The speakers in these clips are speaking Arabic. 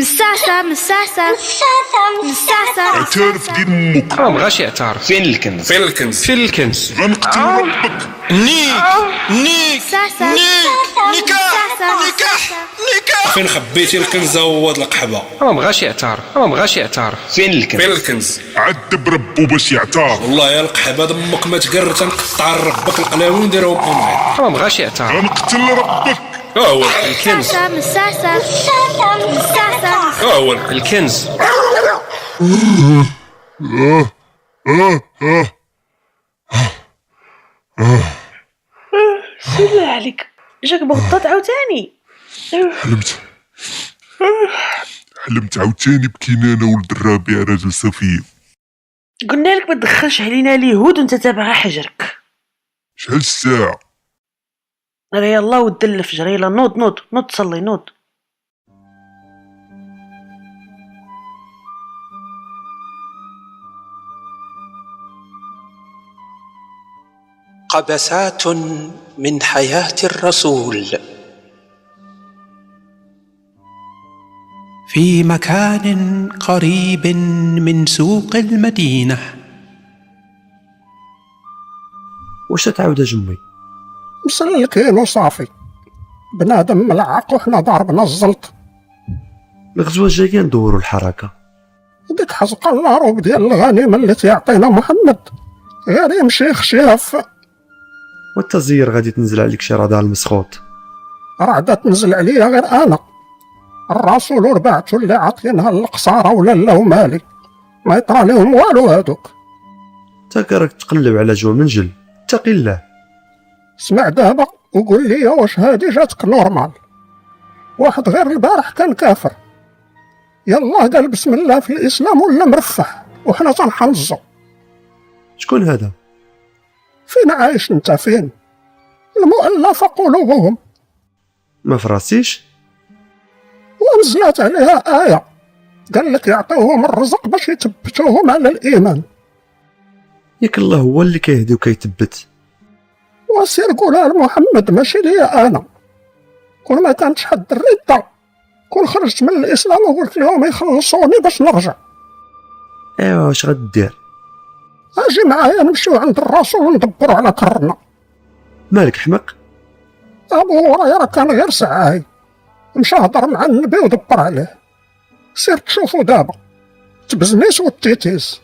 مستعصى مستعصى مستعصى مستعصى اعترف دين امك ما بغاش يعترف فين الكنز فين الكنز فين الكنز غنقتل ربك نيك نيك مستعصى نيك نكاح مستعصى نكاح نكاح فين خبيتي الكنز هو القحبه ما بغاش يعترف ما بغاش يعترف فين فين الكنز الكنز عذب ربو باش يعترف والله يا القحبه دمك ما تقر تنقطع ربك القلاوي نديرهم امين ما بغاش يعترف غنقتل ربك ها هو الكنز مستعصى مستعصى مستعصى مستعصى ها هو الكنز. الكنز بالله عليك جاك بغطات عاوتاني حلمت حلمت عاوتاني بكينا انا ولد الرابع راجل سفيد قلنا لك ما تدخلش علينا اليهود وانت تابعها حجرك شحال الساعة راه يلا ود الفجر يلا نوض نوض نوض تصلي نوض قبسات من حياه الرسول في مكان قريب من سوق المدينه واش تعاود جمي مسلي الكيلو صافي بنادم ملعق وحنا ضاربنا الزلط الغزوه الجايه ندورو الحركه ديك حزقة الهروب ديال الغنيمة اللي تيعطينا محمد غير يمشي يخشيها في وانت زير غادي تنزل عليك شي رادار المسخوط راه عدا تنزل عليا غير انا الرسول ورباعته اللي عاطينها القصارى ولا لا مالي ما يطرى لهم والو هادوك تا راك تقلب على جو منجل اتقي الله سمع دابا وقول لي واش هادي جاتك نورمال واحد غير البارح كان كافر يلا قال بسم الله في الاسلام ولا مرفح وحنا تنحنزو شكون هذا فين عايش انت فين المؤلف قلوبهم ما فراسيش ونزلت عليها آية قال لك يعطيوهم الرزق باش يثبتوهم على الإيمان ياك الله هو اللي كيهدي وكيتبت وسير قولها لمحمد ماشي ليا أنا كل ما كانت حد الردة كل خرجت من الإسلام وقلت لهم يخلصوني باش نرجع ايوا واش غدير أجي معايا نمشيو عند الرسول وندبرو على كرنا مالك حمق أبو هريرة كان غير سعاي مشى هضر مع النبي ودبر عليه سير تشوفو دابا تبزنيس وتيتيس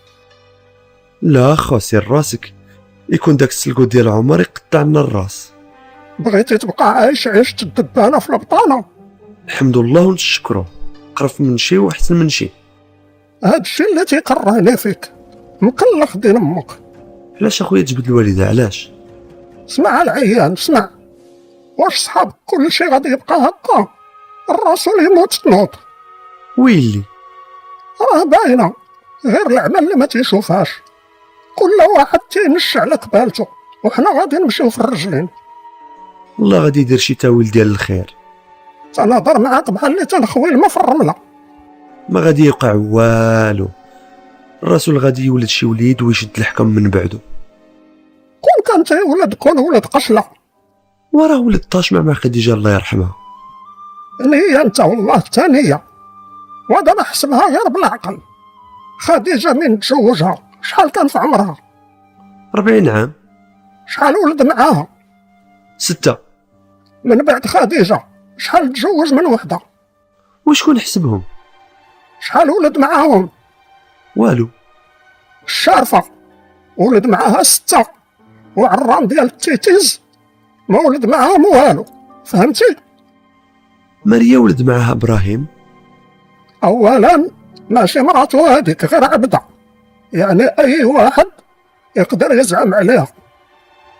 لا خو سير راسك يكون داك السلقو ديال عمر يقطع لنا الراس بغيتي تبقى عايش عيشة الدبانة في البطانة الحمد لله ونشكرو قرف من شي واحسن من شي هاد الشيء اللي تيقرهني فيك مكلخ دين امك علاش اخويا تجبد الوالده علاش اسمع العيان اسمع واش صحابك كل شيء غادي يبقى هكا الرسول يموت تنوض ويلي راه باينه غير العمل اللي ما تيشوفهاش كل واحد تينش على كبالته وحنا غادي نمشيو في الرجلين والله غادي يدير شي تاويل ديال الخير تنهضر معاك بحال اللي تنخوي الما في الرمله ما غادي يوقع والو الرسول غادي يولد شي وليد ويشد الحكم من بعده كون كان تي ولد كون ولد قشله وراه ولد طاشمع مع خديجه الله يرحمها نية انت والله ثانية وهذا نحسبها غير بالعقل خديجة من تزوجها شحال كان في عمرها 40 عام شحال ولد معاها ستة من بعد خديجة شحال تزوج من وحدة وشكون حسبهم شحال ولد معاهم والو الشارفة ولد معاها ستة وعرام ديال التيتيز ما ولد معاهم والو فهمتي ماريا ولد معها ابراهيم اولا ماشي مراتو هذيك غير عبده يعني اي واحد يقدر يزعم عليها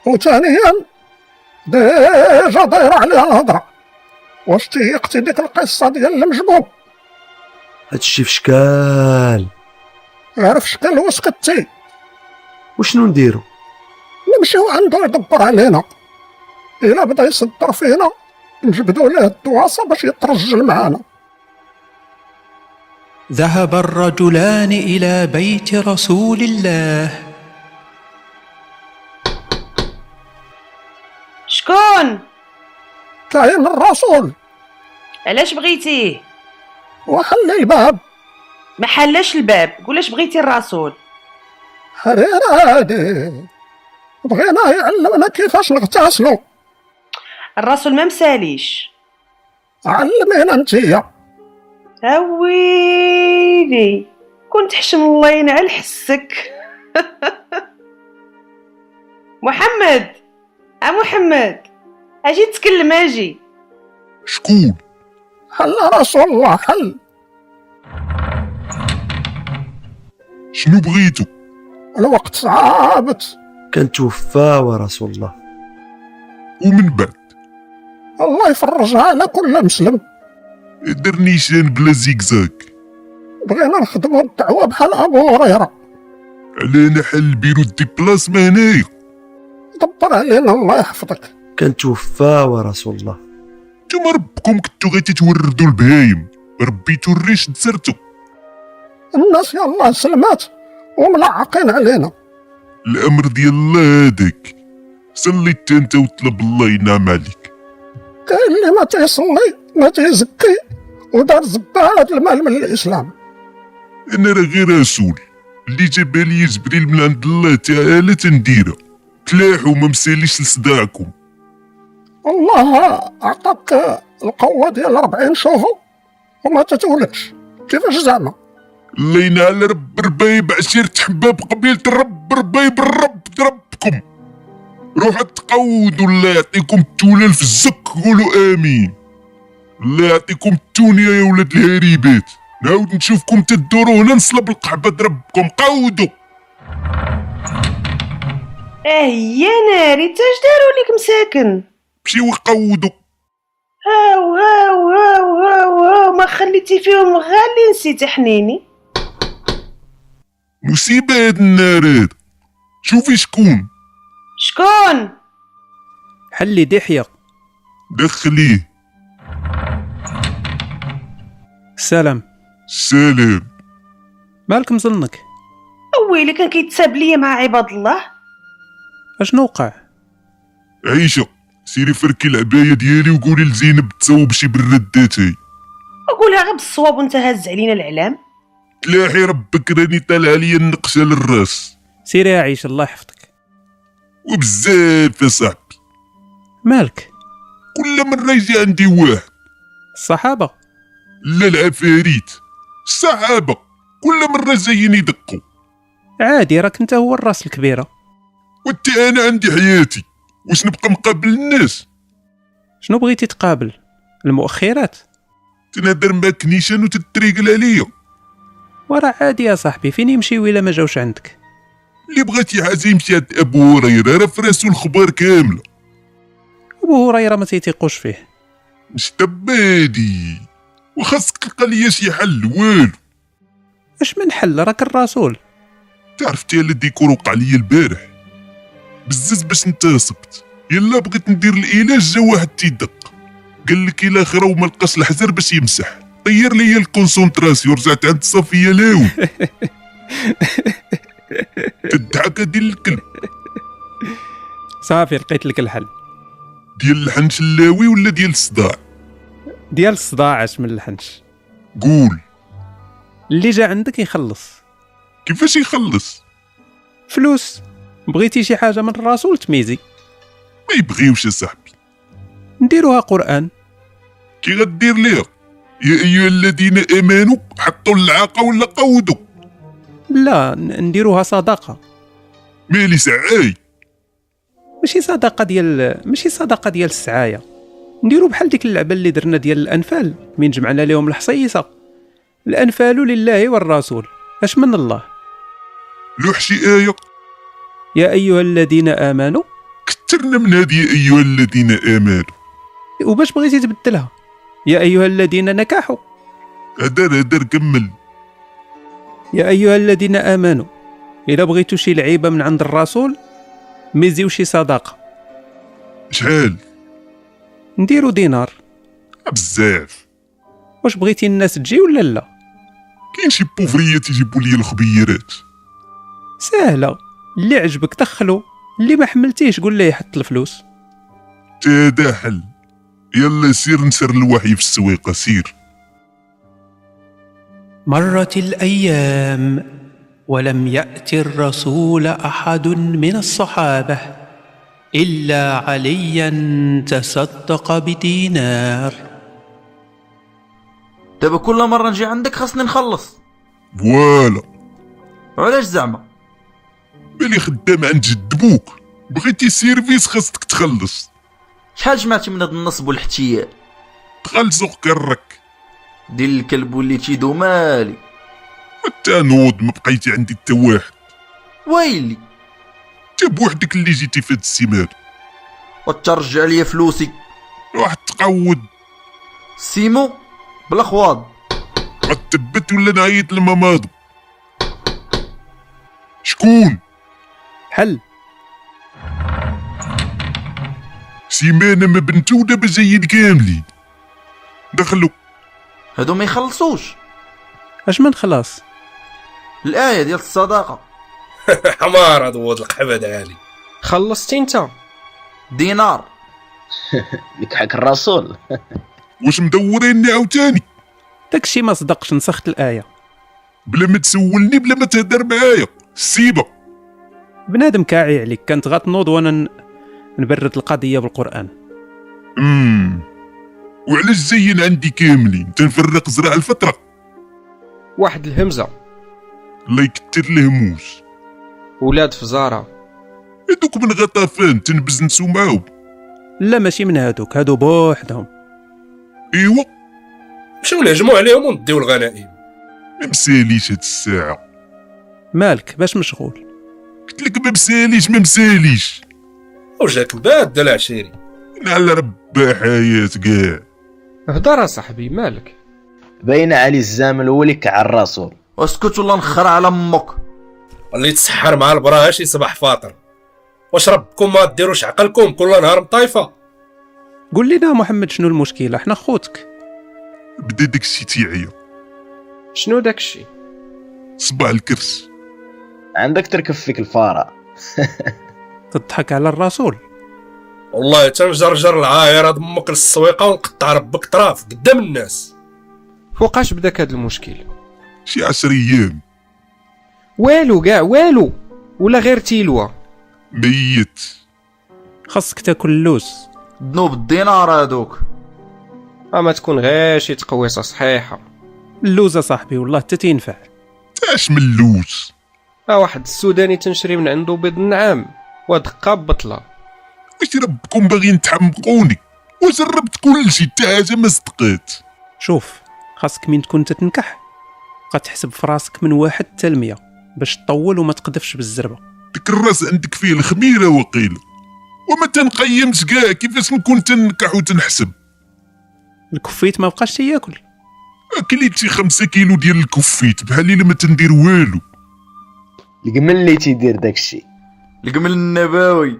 وثانيا ديجا دايره عليها الهضره واش تيقتي ديك القصه ديال المجبوب هادشي في شكال غير في شكل وسكتي وشنو نديرو نمشيو عندو يدبر علينا الا بدا يصدر فينا نجبدو ليه الدواسه باش يترجل معانا ذهب الرجلان الى بيت رسول الله شكون كاين الرسول علاش بغيتيه وحل الباب ما حلاش الباب قول اش بغيتي الرسول حرير هادي بغينا يعلمنا كيفاش نغتسلو الرسول ما مساليش علمينا انتيا هويلي كنت حشم الله ينعل حسك محمد ا محمد اجي تكلم اجي شكون حل رسول الله حل شنو بغيتو الوقت صعبت كان توفى ورسول الله ومن بعد الله يفرجها على كل مسلم درني شان بلا زيكزاك بغينا نخدمو الدعوة بحال أبو هريرة على انا حل بيرو ديبلاسمون هنايا دبر علينا الله يحفظك كان توفى ورسول الله نتوما ربكم كنتو غي تتوردو البهايم ربيتو الريش تسرتو الناس يا الله سلمات وملعقين علينا الامر ديال الله هذاك صليت انت وطلب الله ينعم عليك كاين اللي ما تيصلي ما تيزكي ودار زبالة المال من الإسلام انا راه غير رسول اللي جابها لي جبريل من عند الله تعالى تنديرها تلاحوا ما مساليش لصداعكم الله أعطاك القوة ديال 40 شهر وما تتولدش كيفاش زعما الله ينعل رب ربايب عشيرة حباب قبيلة الرب ربايب الرب ربكم روحوا تقودوا الله يعطيكم التولال في الزق قولوا امين الله يعطيكم التونية يا ولاد الهريبات نعاود نشوفكم تدوروا هنا نصلب القحبة ربكم قودوا اه يا ناري تا اش داروا ليك مساكن مشيو قودوا هاو هاو هاو هاو هاو ما خليتي فيهم غالي نسيتي حنيني مصيبة هاد النار هاد شوفي شكون شكون حلي دحية دخليه سلام سلام مالك مزنك ويلي كان كيتساب ليا مع عباد الله اشنو وقع عيشة سيري فركي العباية ديالي وقولي لزينب تصاوب شي بالردات هي وقولها غير بالصواب وانت هز علينا الاعلام تلاحي ربك راني طالع ليا النقشة للراس سيري يا عيش الله يحفظك وبزاف يا صاحبي مالك كل مرة يجي عندي واحد الصحابة لا العفاريت الصحابة كل مرة جايين يدقوا عادي راك انت هو الراس الكبيرة وانت انا عندي حياتي واش نبقى مقابل الناس شنو بغيتي تقابل المؤخرات تنادر معاك نيشان وتتريقل عليا وراه عادي يا صاحبي فين يمشيو الا ما جاوش عندك اللي بغا شي حاجة يمشي عند ابو هريرة راه فراسو الخبار كاملة ابو هريره ما تيتيقوش فيه مش تبادي وخاصك تلقى ليا شي حل والو اش من حل راك الرسول تعرفتي على الديكور وقع لي البارح بزز باش انتصبت يلا بغيت ندير العلاج جا واحد تيدق قال لك الى خرا وما لقاش الحجر باش يمسح طير لي الكونسونطراسيون رجعت عند صفيه لاوي الدعكه ديال الكلب صافي لقيت لك الحل ديال الحنش اللاوي ولا ديال الصداع ديال الصداع اش من الحنش قول اللي جا عندك يخلص كيفاش يخلص فلوس بغيتي شي حاجه من الرسول تميزي ما يبغيوش يا صاحبي نديروها قران كي غدير ليها يا ايها الذين امنوا حطوا العاقه ولا قودوا لا ن- نديروها صدقه مالي سعاي ماشي صدقه ديال ماشي صدقه ديال السعايه نديرو بحال ديك اللعبه اللي درنا ديال الانفال من جمعنا لهم الحصيصه الانفال لله والرسول اش من الله لوح شي ايه يا ايها الذين امنوا كثرنا من هذه يا ايها الذين امنوا وباش بغيتي تبدلها يا ايها الذين نكحوا هدر هدر كمل يا ايها الذين امنوا الا بغيتو شي لعيبه من عند الرسول ميزيو شي صداقه شحال نديرو دينار بزاف واش بغيتي الناس تجي ولا لا كاين شي بوفريات يجيبوا لي الخبيرات سهله اللي عجبك دخلو اللي ما حملتيهش قول ليه يحط الفلوس تا هذا حل يلا سير نسر الوحي في السويقه سير مرت الايام ولم يات الرسول احد من الصحابه الا عليا تصدق بدينار دابا كل مره نجي عندك خاصني نخلص فوالا وعلاش زعما بالي خدام عند جد بوك بغيتي سيرفيس خاصك تخلص شحال جمعتي من هاد النصب والاحتيال تخلصو كرك ديال الكلب واللي تيدو مالي حتى نوض ما بقيتي عندي حتى واحد ويلي انت بوحدك اللي جيتي في هاد السيمان وترجع لي فلوسي واحد تقود سيمو بلا خواض غتبت ولا نعيط لما ماضي شكون حل سيمانه ما بنتو ودابا جايين كاملين دخلوا هادو ما يخلصوش اش من خلاص الايه ديال الصداقه حمار هاد ولد القحبه عالي خلصتي انت دينار لك حق الرسول واش مدوريني عاوتاني داكشي ما صدقش نسخت الايه بلا ما تسولني بلا ما تهدر معايا سيبه بنادم كاعي عليك كانت غتنوض وانا ن- نبرد القضيه بالقران امم وعلاش زين عندي كاملين تنفرق زراعه الفتره واحد الهمزه الله يكثر الهموس ولاد فزاره هادوك من غطافان تنبز نسو معاهم لا ماشي من هادوك هادو بوحدهم ايوا مشاو نهجموا عليهم ونديو الغنائم ما مساليش هاد الساعه مالك باش مشغول قلت لك ما مساليش ما مساليش وجهك باد العشيري على ربي حياة كاع هضر صاحبي مالك باين عليه الزمن ولك على الرسول اسكت ولا نخر على امك اللي تسحر مع البراهاشي صباح فاطر واش ربكم ما ديروش عقلكم كل نهار مطايفه قول لنا محمد شنو المشكله حنا خوتك بدا داكشي تيعيا شنو داكشي صباع الكرش عندك تركب فيك الفاره تضحك على الرسول والله تنجرجر العاير هاد امك للسويقه ونقطع ربك طراف قدام الناس فوقاش بداك هاد المشكل شي عشر ايام والو كاع والو ولا غير تيلوه ميت خاصك تاكل اللوز ذنوب الدينار هادوك اما تكون غير شي تقويصه صحيحه اللوز صاحبي والله حتى تينفع تاش من اللوز ها واحد السوداني تنشري من عنده بيض النعام ودقه بطله واش ربكم باغيين تحمقوني وجربت كلشي حتى حاجه ما صدقات شوف خاصك من تكون تتنكح غتحسب في راسك من واحد حتى المية باش تطول وما تقدفش بالزربه ديك الراس عندك فيه الخميره وقيل وما تنقيمش كاع كيفاش نكون تنكح وتنحسب الكفيت ما بقاش تياكل كليتي خمسة كيلو ديال الكفيت بحال الا ما تندير والو القمل اللي تيدير داكشي القمل النبوي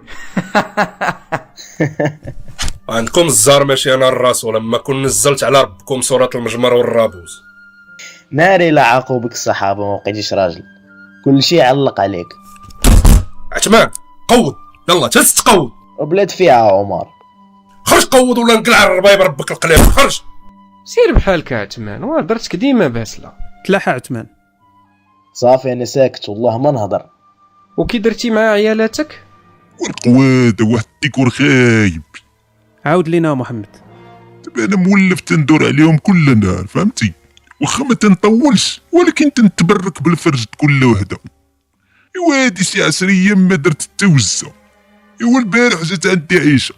عندكم الزار ماشي انا الرسول اما كون نزلت على ربكم سوره المجمر والرابوز ناري لا عاقوا بك الصحابه ما بقيتيش راجل كلشي علق عليك عثمان قود يلا تستقود وبلاد فيها عمر خرج قود ولا نقلع الربايب ربك القليب خرج سير بحالك عثمان وهضرتك ديما باسله تلاحى عثمان صافي انا ساكت والله ما نهضر وكي درتي مع عيالاتك والقواده واحد الديكور خايب عاود لينا محمد دابا انا مولف تندور عليهم كل نهار فهمتي واخا ما تنطولش ولكن تنتبرك بالفرج كل وحده ايوا هادي شي عشر ايام ما درت حتى وزه ايوا البارح جات عندي عيشه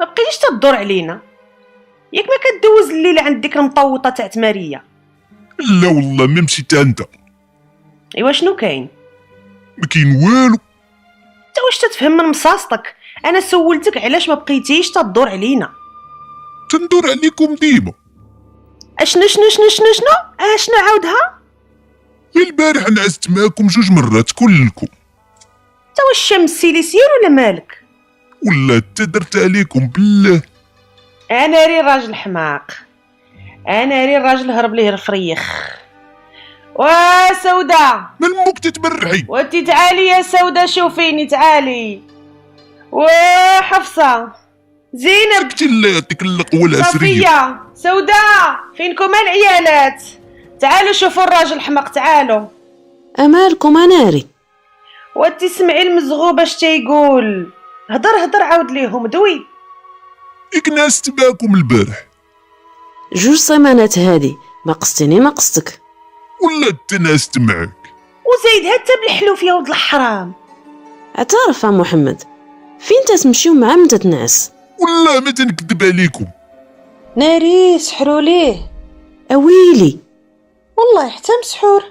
ما بقيتيش تدور علينا ياك ما كدوز الليل عند ديك المطوطه تاع تماريه لا والله ما مشيت عندها ايوا شنو كاين ما كاين والو انت واش تتفهم من مصاصتك انا سولتك علاش ما بقيتيش تدور علينا تندور عليكم ديما اشنو شنو شنو شنو أه، شنو اشنو عاودها غير البارح نعست معاكم جوج مرات كلكم انت واش الشمس سيليسير ولا مالك ولا حتى درت عليكم بالله انا ري راجل حماق انا ري راجل هرب ليه الفريخ وسودة من موك تتبرعي وانتي تعالي يا سودة شوفيني تعالي وحفصة زينب الله يعطيك اللقوه العسريه صفية سودة فينكم العيالات تعالوا شوفوا الراجل حمق تعالوا امالكم اناري وانت سمعي المزغوب اش تيقول هضر هضر عاود ليهم دوي ياك ناس تباكم البارح جوج سيمانات هادي ما قصتيني ما قصتك ولا تناست معك وزايد حتى بالحلوف يا ولد الحرام اعترف يا محمد فين تتمشي ومع من تتنعس ولا ما تنكذب عليكم ناري سحروا ليه اويلي والله حتى مسحور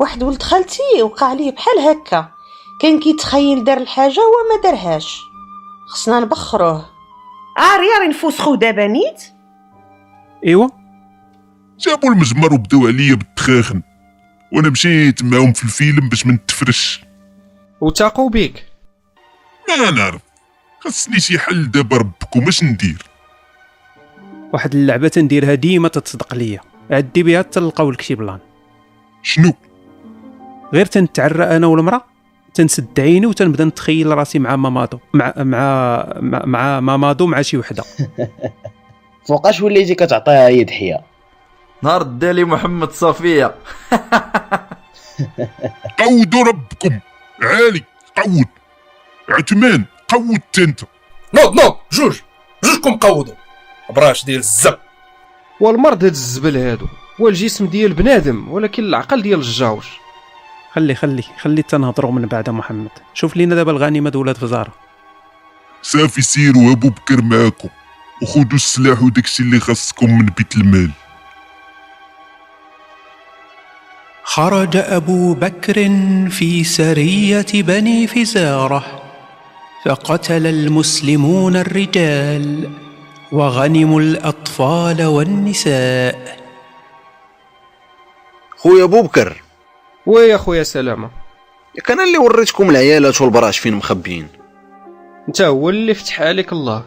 واحد ولد خالتي وقع ليه بحال هكا كان كيتخيل دار الحاجه هو ما دارهاش خصنا نبخروه عاري راه نفوسخو دابا نيت ايوا جابوا المزمر وبداو عليا بالتخاخن وانا مشيت معاهم في الفيلم باش ما نتفرش وتاقوا بيك ما نعرف خاصني شي حل دابا ربكم اش ندير واحد اللعبه تنديرها ديما تتصدق ليا عدي بها حتى نلقاو لك شي بلان شنو غير تنتعرى انا والمراه تنسد عيني وتنبدا نتخيل راسي مع مامادو مع مع مع, مع مامادو مع شي وحده فوقاش وليتي كتعطيها يد حيه نهار الدالي محمد صفية قودوا ربكم عالي قود عثمان قود انت نوض نوض جوج جوجكم قودوا براش ديال الزب والمرض هاد الزبل هادو هو الجسم ديال بنادم ولكن العقل ديال الجاوج خلي خلي خلي تنهضروا من بعد محمد شوف لينا دابا الغنيمه دولات فزاره صافي سيروا ابو بكر معاكم وخذوا السلاح وداكشي اللي خاصكم من بيت المال خرج أبو بكر في سرية بني فزارة فقتل المسلمون الرجال وغنموا الأطفال والنساء خويا بوبكر ويا خويا سلامه ياك انا اللي وريتكم العيالات والبراش فين مخبيين انت هو اللي فتح عليك الله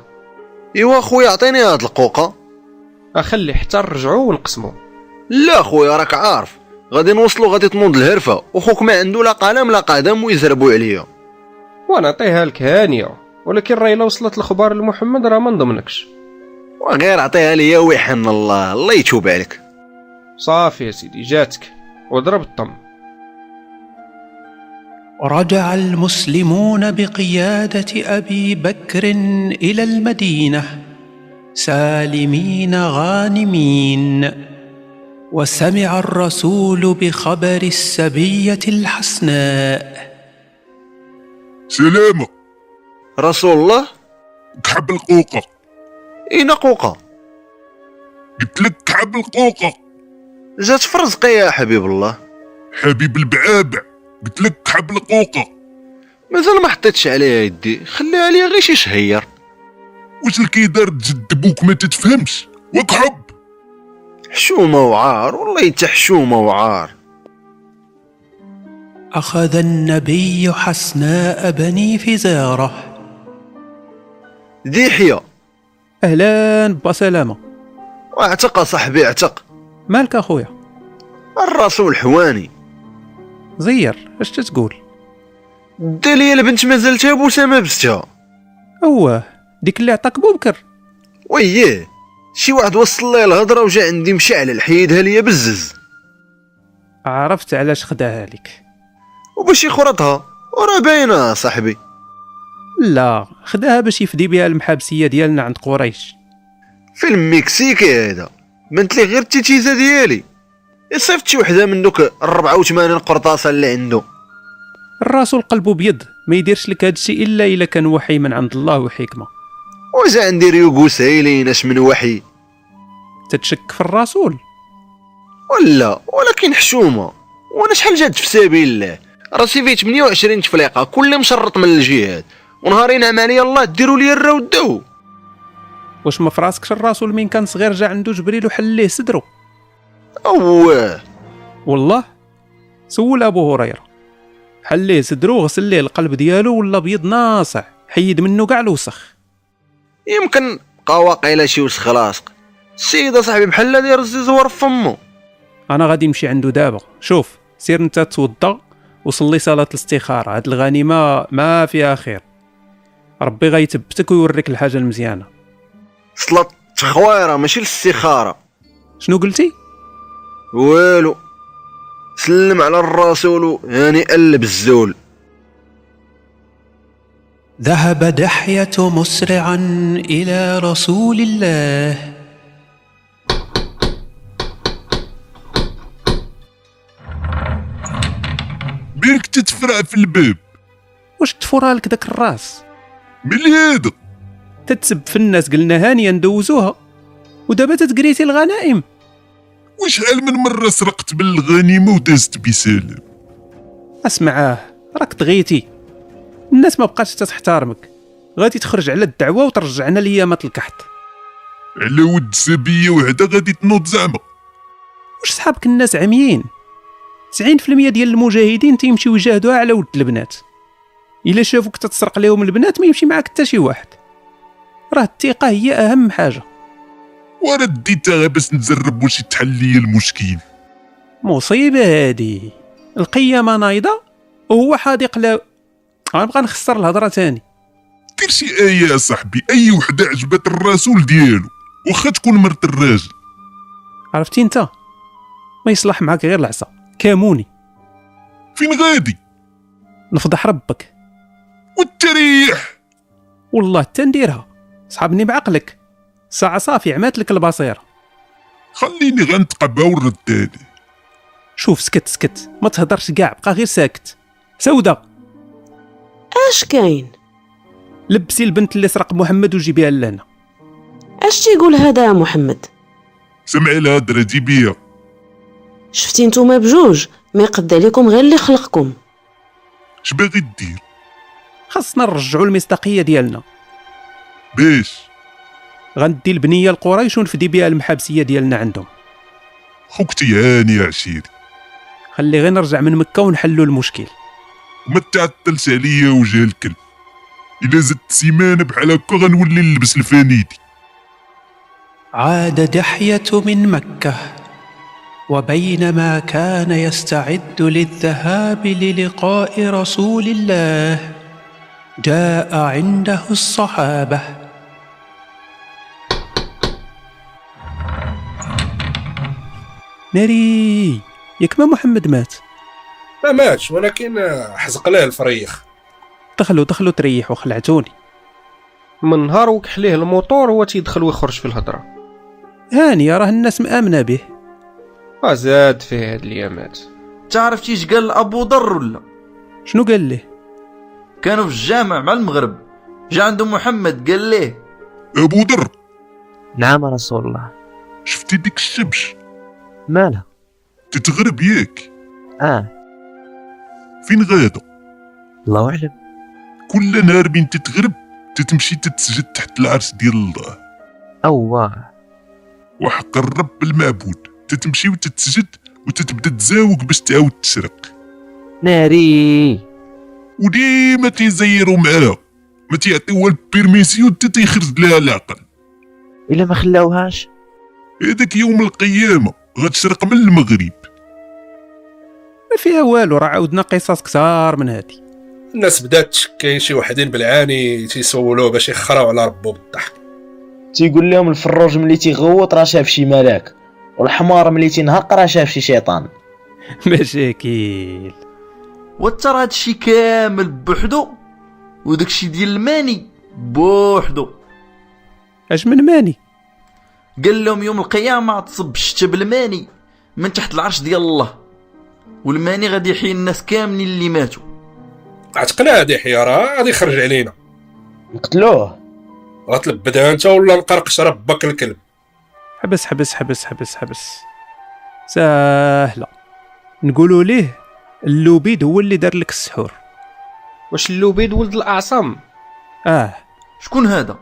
ايوا خويا عطيني هاد القوقه اخلي حتى نرجعو ونقسمو لا خويا راك عارف غادي نوصلو غادي تنوض الهرفه وخوك ما عنده لا قلم لا قدم ويزربوا عليا ونعطيها لك هانيه ولكن راه الا وصلت الخبار لمحمد راه ما نضمنكش وغير عطيها ليا ويحن الله الله يتوب عليك صافي يا سيدي جاتك وضرب الطم رجع المسلمون بقيادة أبي بكر إلى المدينة سالمين غانمين وسمع الرسول بخبر السبية الحسناء سلامة رسول الله كعب القوقة اين قوقة قلت لك كعب القوقة جات في رزقي يا حبيب الله حبيب البعابع قلت لك كعب القوقة مازال ما حطيتش عليها يدي خليها عليا غير شي شهير واش اللي كيدار جد بوك ما تتفهمش وكعب حشومة وعار والله حتى حشومة وعار أخذ النبي حسناء بني فزارة ديحية اهلا با سلامه واعتق صاحبي اعتق مالك اخويا الرسول حواني زير اش تتقول دا ليا البنت مازال تابوسه ما بستها اواه ديك اللي عطاك بوبكر وييه شي واحد وصل لي الهضره وجا عندي مشعل حيدها ليا بزز عرفت علاش خداها لك وباش يخرطها وراه باينه صاحبي لا خداها باش يفدي بها المحابسيه ديالنا عند قريش في المكسيك هذا بنت لي غير التيتيزه ديالي صيفط شي وحده من دوك 84 قرطاسه اللي عنده الرسول قلبه بيض ما يديرش لك هادشي الا الا كان وحي من عند الله وحكمه وجا عندي ريوكو سايلين اش من وحي تتشك في الرسول ولا ولكن حشومه وانا شحال جات في سبيل الله راسي فيه 28 تفليقه كل مشرط من الجهاد ونهارين عمليه الله ديروا لي الرود دو واش ما فراسكش الرسول من كان صغير جا عنده جبريل وحل ليه صدرو اوه والله سول ابو هريره حل ليه صدرو غسل ليه القلب ديالو ولا بيض ناصع حيد منه كاع الوسخ يمكن بقى واقيلا شي وسخ لاصق السيد صاحبي بحال الذي رزي زوار في فمو انا غادي نمشي عنده دابا شوف سير انت توضا وصلي صلاه الاستخاره هاد الغنيمه ما فيها خير ربي غيثبتك ويوريك الحاجه المزيانه صلاة التخويره ماشي الاستخاره شنو قلتي والو سلم على الرسول هنيئا بالزول ذهب دحية مسرعا إلى رسول الله بينك تتفرع في الباب واش تفورالك داك الراس ملي هذا تتسب في الناس قلنا هانيه ندوزوها ودابا تتقريتي الغنائم وشحال من مره سرقت بالغنيمه ودازت بسلام اسمعاه راك طغيتي الناس ما بقاتش تحترمك غادي تخرج على الدعوه وترجعنا ليامات الكحط على ود سبيه وحده غادي تنوض زعما واش صحابك الناس عميين 90% ديال المجاهدين تيمشيو يجاهدوها على ود البنات الا شافوك تتسرق لهم البنات ما يمشي معاك حتى شي واحد راه الثقه هي اهم حاجه وانا ديتها غير باش نجرب واش يتحل لي المشكل مصيبه هادي القيامه نايضه وهو حاضق لا غنبقى نخسر الهضره تاني دير شي ايه يا صاحبي اي وحده عجبت الرسول ديالو واخا تكون مرت الراجل عرفتي انت ما يصلح معاك غير العصا كاموني فين غادي نفضح ربك والتريح والله تنديرها صحابني بعقلك ساعة صافي عمات لك البصيرة خليني غنتقبى ونرداني شوف سكت سكت ما تهضرش كاع بقى غير ساكت سودة اش كاين لبسي البنت اللي سرق محمد وجيبيها لنا اش تيقول هذا يا محمد سمعي لها درا جيبيها شفتي نتوما بجوج ما يقد عليكم غير اللي خلقكم اش باغي دير خاصنا نرجعوا المصداقية ديالنا باش غندي البنية لقريش ونفدي بها المحابسية ديالنا عندهم خوكتي هاني يا عشيري خلي غير نرجع من مكة ونحلوا المشكل وما تعطلش عليا وجه الكلب الا زدت سيمانه بحال هكا غنولي نلبس الفانيدي عاد دحية من مكة وبينما كان يستعد للذهاب للقاء رسول الله جاء عنده الصحابة ناري ياك ما محمد مات ما ماتش ولكن آه، حزق له الفريخ دخلوا دخلوا تريحوا خلعتوني من نهار وكحليه الموتور هو تيدخل ويخرج في الهضره هانيه راه الناس مامنه به اه زاد فيه هاد الايامات تعرفتي اش قال ابو ذر ولا شنو قال ليه كانوا في الجامع مع المغرب جا عنده محمد قال ليه ابو ذر نعم رسول الله شفتي ديك الشبش مالها تتغرب ياك اه فين غادا الله اعلم كل نهار من تتغرب تتمشي تتسجد تحت العرش ديال الله اواه وحق الرب المعبود تتمشي وتتسجد وتتبدا تزاوق باش تعاود تسرق ناري وديما تيزيروا معاها ما تيعطيوها البيرميسيون حتى تيخرج لها العقل الا ما خلاوهاش هذاك يوم القيامه غتسرق من المغرب ما فيها والو راه عاودنا قصص كثار من هادي الناس بدات تشكي شي وحدين بالعاني تيسولوه باش يخراو على ربو بالضحك تيقول لهم الفروج ملي تيغوط راه شاف شي ملاك والحمار ملي تينهق راه شاف شي شيطان مشاكل وتر هادشي كامل بوحدو وداكشي ديال الماني بوحدو اش من ماني قال لهم يوم القيامة تصب الشتا بالماني من تحت العرش ديال الله والماني غادي يحيي الناس كاملين اللي ماتوا عتقنا هادي حيارة غادي يخرج علينا قتلوه غتلبدها انت ولا نقرقش ربك الكلب حبس حبس حبس حبس حبس ساهله نقولوا ليه اللوبيد هو اللي دار لك السحور واش اللوبيد ولد الاعصم اه شكون هذا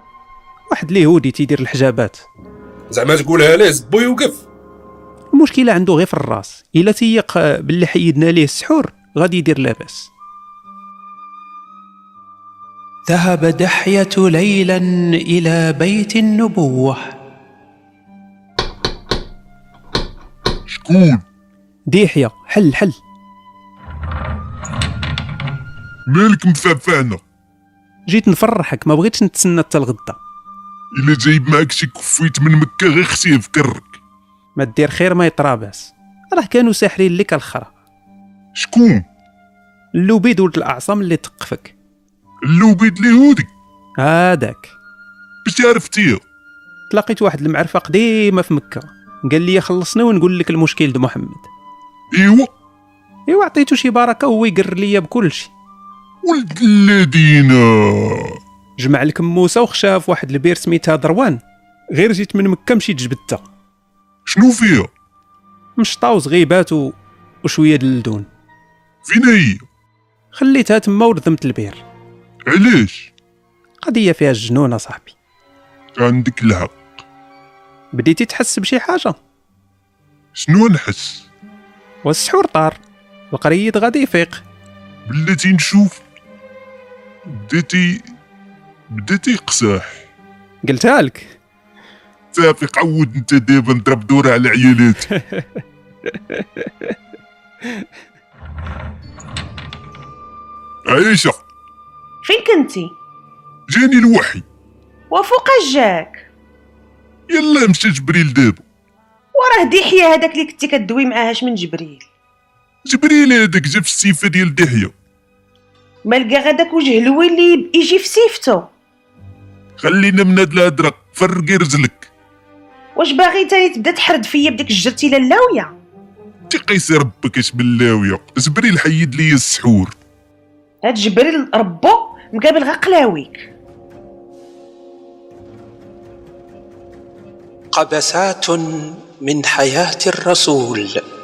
واحد اليهودي تيدير الحجابات زعما تقولها ليه زبو يوقف المشكله عنده غير في الراس الا تيق آه، باللي حيدنا ليه السحور غادي يدير لاباس ذهب دحية ليلا إلى بيت النبوة شكون ديحيه حل حل مالك مفعفعنا جيت نفرحك ما بغيتش نتسنى حتى الغدا الا جايب معاك شي كفيت من مكه غير خصيه يفكرك ما دير خير ما يطراباس راه كانوا ساحرين لك الخرا شكون اللوبيد ولد الاعصام اللي تقفك اللوبيد اليهودي هذاك باش عرفتيه تلاقيت واحد المعرفه قديمه في مكه قال لي خلصني ونقول لك المشكل د محمد ايوا ايوا عطيتو شي بركه وهو يقر ليا بكلشي ولد الذين جمع لك موسى وخشاها في واحد البير سميتها دروان غير جيت من مكه مشيت جبدتها شنو فيها مشطه وزغيبات و... وشويه ديال اللدون فين هي خليتها تما وردمت البير علاش قضيه فيها الجنون اصاحبي عندك الحق بديتي تحس بشي حاجه شنو نحس والسحور طار القريد غادي يفيق بلاتي نشوف بديتي بديتي قصاح قلتها لك صافي قود انت دابا نضرب دورة على عيالاتي عيشة فين كنتي جاني الوحي وفوقاش جاك يلا مشى جبريل دابا وراه دحيه هذاك اللي كنتي كدوي معاهاش من جبريل جبريل هذاك جا في السيفة ديال دحية ما لقى غداك وجه الوي اللي يجي في سيفتو خلينا من هاد الهضرة فرقي رجلك واش باغي تاني تبدا تحرد فيا بديك الجرتيله اللاويه تقيس ربك اش باللاوية جبريل حيد لي السحور هاد جبريل ربو مقابل غا قلاويك قبسات من حياة الرسول